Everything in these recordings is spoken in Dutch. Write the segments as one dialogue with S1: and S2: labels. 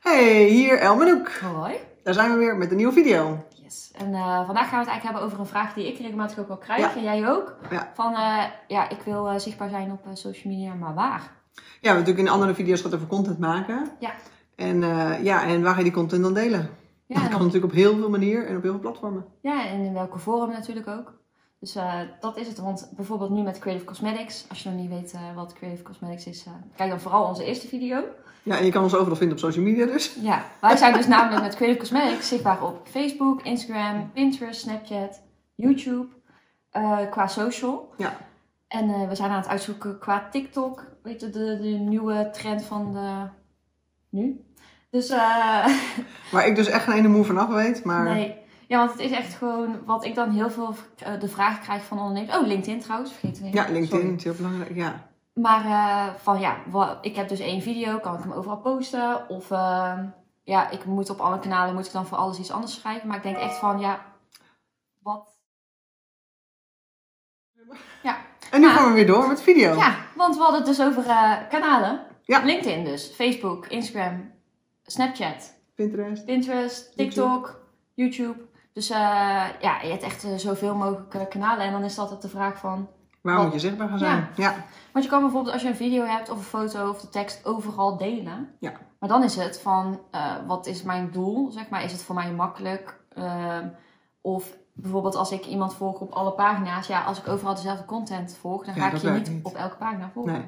S1: Hey, hier Elme Noek.
S2: Hoi.
S1: Daar zijn we weer met een nieuwe video.
S2: Yes. En eh, vandaag gaan we het eigenlijk hebben over een vraag die ik regelmatig ook al krijg.
S1: Ja.
S2: En jij ook.
S1: Ja.
S2: Van, eh, ja, ik wil eh, zichtbaar zijn op eh, social media, maar waar?
S1: Ja, we hebben natuurlijk in andere video's gehad over content maken.
S2: Ja.
S1: En, eh, ja, en waar ga je die content dan delen?
S2: Ja,
S1: dat
S2: en,
S1: kan natuurlijk op heel veel manieren en op heel veel platformen.
S2: ja, en in welke vorm natuurlijk ook. Dus eh, dat is het. Want bijvoorbeeld nu met Creative Cosmetics. Als je nog niet weet eh, wat Creative Cosmetics is, eh, kijk dan vooral onze eerste video.
S1: Ja, en je kan ons overal vinden op social media dus.
S2: Ja, wij zijn dus namelijk met Creative Cosmetics zichtbaar op Facebook, Instagram, Pinterest, Snapchat, YouTube, eh, qua social.
S1: Ja.
S2: En eh, we zijn aan het uitzoeken qua TikTok, weet je, de, de nieuwe trend van de... nu. Dus eh,
S1: Waar ik dus echt geen ene moe vanaf weet, maar...
S2: nee. Ja, want het is echt gewoon wat ik dan heel veel eh, de vraag krijg van ondernemers. Oh, LinkedIn trouwens, vergeet het niet.
S1: Ja, LinkedIn
S2: Sorry.
S1: is heel belangrijk, ja.
S2: Maar eh, van ja, wa- ik heb dus één video, kan ik hem overal posten? Of eh, ja, ik moet op alle kanalen, moet ik dan voor alles iets anders schrijven? Maar ik denk echt van ja, wat?
S1: En nu
S2: Ja.
S1: gaan we weer door met video.
S2: Ja, want we hadden het dus over eh, kanalen.
S1: Ja.
S2: LinkedIn dus, Facebook, Instagram, Snapchat,
S1: Pinterest.
S2: Pinterest, TikTok, YouTube. Dus eh, ja, je hebt echt eh, zoveel mogelijk eh, kanalen. En dan is dat altijd de vraag van...
S1: Waar
S2: Wat?
S1: moet je zichtbaar gaan zijn? Ja.
S2: Want je kan bijvoorbeeld als je een video hebt of een foto of de tekst overal delen.
S1: Ja.
S2: Maar dan is het van, eh, wat is mijn doel? Zeg maar, is het voor mij makkelijk? Ehm, of bijvoorbeeld als ik iemand volg op alle pagina's. Ja, als ik overal dezelfde content volg, dan
S1: Ja,
S2: ga ik
S1: dat
S2: je
S1: werkt
S2: niet,
S1: niet.
S2: op elke pagina volgen.
S1: Nee.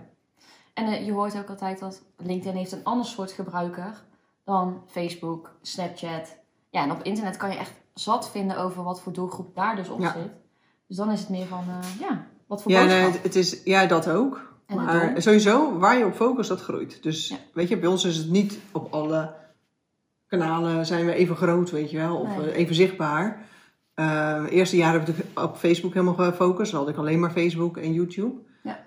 S2: En eh, je hoort ook altijd dat LinkedIn heeft een ander soort gebruiker dan Facebook, Snapchat. Ja, en op internet kan je echt zat vinden over wat voor doelgroep daar dus op
S1: Ja.
S2: zit. Dus dan is het meer van, eh, ja, wat voor
S1: Ja, nee,
S2: boodschap.
S1: het, het is, ja, dat ook.
S2: En het
S1: maar
S2: doel?
S1: sowieso, waar je op focust, dat groeit. Dus
S2: Ja.
S1: weet je, bij ons is het niet op alle kanalen zijn we even groot, weet je wel, of
S2: Nee.
S1: eh, even zichtbaar. Eh, de eerste jaren heb ik de- op Facebook helemaal gefocust. Dan had ik alleen maar Facebook en YouTube.
S2: Ja.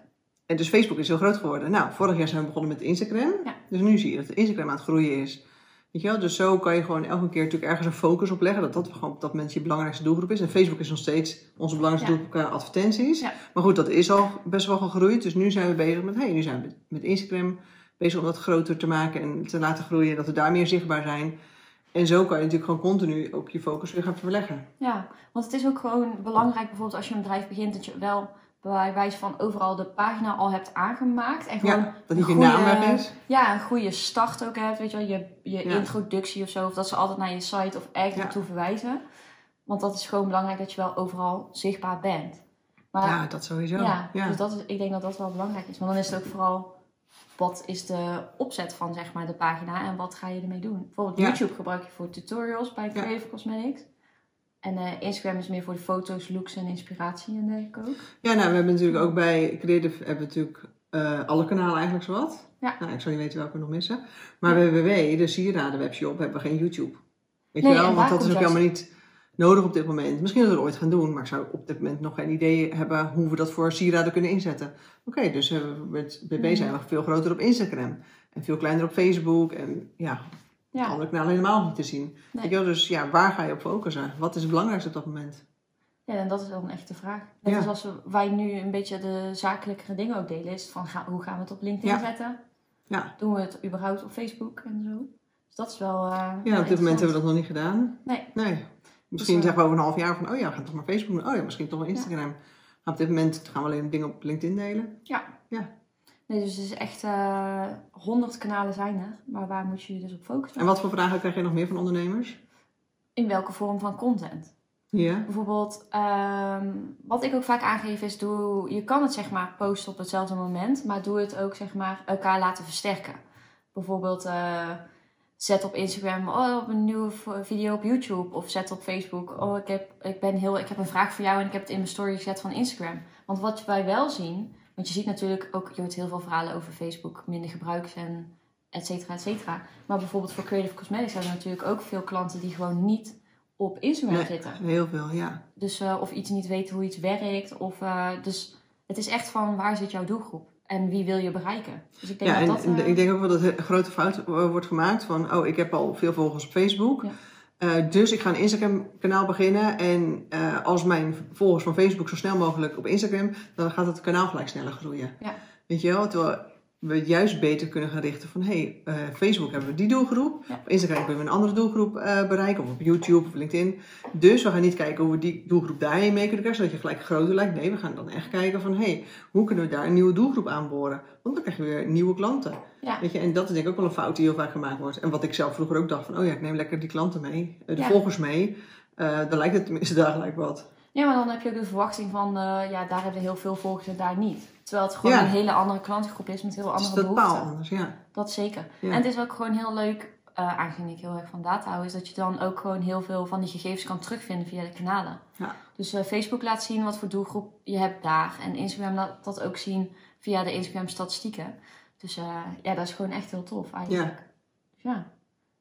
S1: En dus Facebook is heel groot geworden. Nou, vorig jaar zijn we begonnen met Instagram.
S2: Ja.
S1: Dus nu zie je dat Instagram aan het groeien is. Weet je wel? Dus zo kan je gewoon elke keer natuurlijk ergens een focus op leggen. Dat dat gewoon op dat moment je belangrijkste doelgroep is. En Facebook is nog steeds onze belangrijkste
S2: Ja.
S1: doelgroep qua advertenties.
S2: Ja.
S1: Maar goed, dat is al best wel gegroeid. Dus nu zijn we bezig met, hey, nu zijn we met Instagram bezig om dat groter te maken en te laten groeien. Dat we daar meer zichtbaar zijn. En zo kan je natuurlijk gewoon continu ook je focus weer gaan verleggen.
S2: Ja, want het is ook gewoon belangrijk bijvoorbeeld als je een bedrijf begint dat je wel bij wijze van overal de pagina al hebt aangemaakt. En gewoon
S1: Ja, dat niet je
S2: een goede-
S1: naam weg is.
S2: ja, een goede start ook hebt, weet je wel, je, je
S1: Ja.
S2: introductie of zo. Of dat ze altijd naar je site of ergens
S1: Ja.
S2: naartoe verwijzen. Want dat is gewoon belangrijk dat je wel overal zichtbaar bent. Maar
S1: Ja, dat sowieso.
S2: ja,
S1: Ja,
S2: dus dat is, ik denk dat dat wel belangrijk is. Want dan is het ook vooral, wat is de opzet van zeg maar de pagina en wat ga je ermee doen? Bijvoorbeeld
S1: Ja.
S2: YouTube gebruik je voor tutorials bij
S1: Ja.
S2: Creative Cosmetics. En eh, Instagram is meer voor de foto's, looks en inspiratie en denk ik ook.
S1: Ja, nou, we hebben natuurlijk ook bij Creative hebben we natuurlijk eh, alle kanalen eigenlijk zowat.
S2: Ja.
S1: Nou, ik zou niet weten welke we nog missen. Maar WWW, de sieraden webshop, hebben we geen YouTube. Weet
S2: Nee,
S1: je wel?
S2: en
S1: Want
S2: daar
S1: dat is ook
S2: komt
S1: helemaal niet nodig op dit moment. Misschien dat we het ooit gaan doen, maar ik zou op dit moment nog geen idee hebben hoe we dat voor sieraden kunnen inzetten. Oké, dus eh, met
S2: Mm.
S1: BB zijn we veel groter op Instagram. En veel kleiner op Facebook. En ja,
S2: Ja.
S1: andere kanalen nou helemaal niet te zien.
S2: Nee.
S1: Weet je wel? Dus ja, waar ga je op focussen? Wat is het belangrijkste op dat moment?
S2: Ja, en dat is dan echt de vraag. Net
S1: Ja.
S2: als als we- wij nu een beetje de zakelijkere dingen ook delen, is het van ga, hoe gaan we het op LinkedIn
S1: Ja.
S2: zetten?
S1: Ja.
S2: Doen we het überhaupt op Facebook en zo? Dus dat is wel. eh,
S1: Ja,
S2: wel
S1: op dit moment
S2: interessant.
S1: hebben we dat nog niet gedaan.
S2: Nee.
S1: Nee. Misschien
S2: eh,
S1: zeggen we over een half jaar van, oh ja, we gaan toch maar Facebook doen. Oh ja, misschien toch wel Instagram. Maar op dit moment gaan we alleen dingen op LinkedIn delen.
S2: Nee, dus het is echt eh, 100 kanalen zijn er, maar waar moet je je dus op focussen?
S1: En wat voor vragen krijg je nog meer van ondernemers?
S2: In welke vorm van content?
S1: Ja.
S2: Bijvoorbeeld, ehm, wat ik ook vaak aangeef is, doe, je kan het zeg maar posten op hetzelfde moment, maar doe het ook zeg maar elkaar laten versterken. Bijvoorbeeld, eh, zet op Instagram oh, op een nieuwe v- video op YouTube of zet op Facebook, oh ik heb, ik, ben heel, ik heb een vraag voor jou en ik heb het in mijn story gezet van Instagram. Want wat wij wel zien, want je ziet natuurlijk ook, je hoort heel veel verhalen over Facebook, minder gebruiks en et cetera, et cetera. Maar bijvoorbeeld voor Creative Cosmetics hebben we natuurlijk ook veel klanten die gewoon niet op Instagram
S1: Nee.
S2: zitten.
S1: Heel veel, ja.
S2: Dus eh, of iets niet weten hoe iets werkt. Of, eh, dus het is echt van waar zit jouw doelgroep? En wie wil je bereiken? Dus ik denk
S1: ja, en,
S2: dat dat...
S1: en
S2: eh,
S1: ik denk ook wel dat een grote fout eh, wordt gemaakt van, oh, ik heb al veel volgers op Facebook.
S2: Ja.
S1: Eh, dus ik ga een Instagram-kanaal beginnen. En eh, als mijn volgers van Facebook zo snel mogelijk op Instagram, dan gaat het kanaal gelijk sneller groeien.
S2: Ja.
S1: Weet je wel? Terwijl we het juist beter kunnen gaan richten van... hey, eh, Facebook hebben we die doelgroep.
S2: Ja.
S1: Op Instagram kunnen we een andere doelgroep eh, bereiken. Of op YouTube of LinkedIn. Dus we gaan niet kijken hoe we die doelgroep daarheen mee kunnen krijgen... zodat je gelijk groter lijkt. Nee, we gaan dan echt kijken van... hey, hoe kunnen we daar een nieuwe doelgroep aanboren? Want dan krijg je weer nieuwe klanten.
S2: Ja.
S1: Weet je, en dat is denk ik ook wel een fout die heel vaak gemaakt wordt. En wat ik zelf vroeger ook dacht van... oh ja, ik neem lekker die klanten mee. eh, De
S2: Ja.
S1: volgers mee. Eh dan lijkt het tenminste daar gelijk wat. Dus
S2: Ja, maar dan heb je ook de verwachting van, eh, ja, daar hebben we heel veel volgers en daar niet. Terwijl het gewoon
S1: Ja.
S2: een hele andere klantengroep is met heel
S1: Het is
S2: andere
S1: totaal
S2: behoeften.
S1: anders, ja.
S2: Dat zeker.
S1: Ja.
S2: En het is ook gewoon heel leuk, eh aangezien ik heel erg van data hou, is dat je dan ook gewoon heel veel van die gegevens kan terugvinden via de kanalen.
S1: Ja.
S2: Dus eh, Facebook laat zien wat voor doelgroep je hebt daar. En Instagram laat dat ook zien via de Instagram statistieken. Dus eh, ja, dat is gewoon echt heel tof eigenlijk. Dus Ja.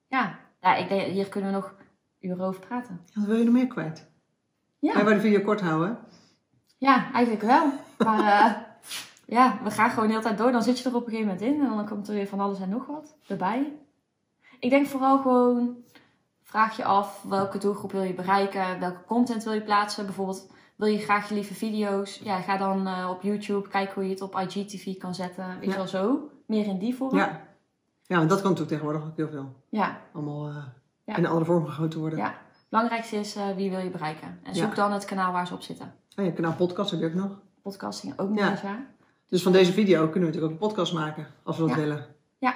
S2: Ja, ja. ik denk, hier kunnen we nog uren over praten.
S1: Wat wil je nog meer kwijt?
S2: Ja.
S1: Wij willen de video kort houden.
S2: Ja, eigenlijk wel. Maar eh, ja, we gaan gewoon de hele tijd door. Dan zit je er op een gegeven moment in en dan komt er weer van alles en nog wat erbij. Ik denk vooral gewoon, vraag je af welke doelgroep wil je bereiken, welke content wil je plaatsen. Bijvoorbeeld, wil je graag je lieve video's? Ja, ga dan eh, op YouTube kijken hoe je het op IGTV kan zetten. Weet je
S1: Ja.
S2: wel zo? Meer in die vorm.
S1: Ja. Ja, want dat kan natuurlijk tegenwoordig ook heel veel.
S2: ja.
S1: Allemaal eh,
S2: Ja.
S1: in een andere vorm gegoten worden.
S2: Ja. Belangrijkste is eh, wie wil je bereiken. En zoek
S1: Ja.
S2: dan het kanaal waar ze op zitten.
S1: En je Oh kanaal podcast heb je ook nog.
S2: Podcasting ook nog
S1: Ja.
S2: eens, ja.
S1: Dus van deze video kunnen we natuurlijk ook een podcast maken. Als we dat
S2: Ja.
S1: willen.
S2: Ja.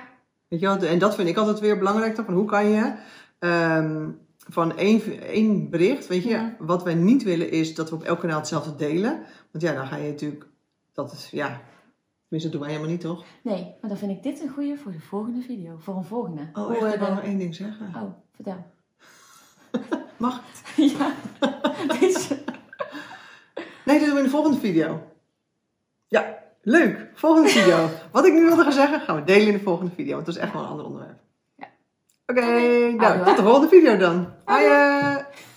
S1: Weet je wel? En dat vind ik altijd weer belangrijk. dan, Van hoe kan je... ehm, van één, één bericht, weet je,
S2: Ja.
S1: wat wij niet willen is dat we op elk kanaal hetzelfde delen. Want ja, dan ga je natuurlijk, dat is, ja, tenminste, dat doen wij helemaal niet, toch?
S2: Nee, maar dan vind ik dit een goede voor de volgende video. Voor een volgende.
S1: Oh, echt,
S2: Hoe,
S1: ik
S2: eh,
S1: wil nog één ding zeggen.
S2: oh vertel.
S1: Mag?
S2: ja. dit is-
S1: Nee, dat doen we in de volgende video. Ja, leuk. Volgende video. Wat ik nu wilde gaan zeggen, gaan we delen in de volgende video. Want dat is echt wel een ander onderwerp.
S2: Ja.
S1: Oké,
S2: Oké.
S1: nou,
S2: Houdoe.
S1: tot de volgende video dan. Hoi. eh.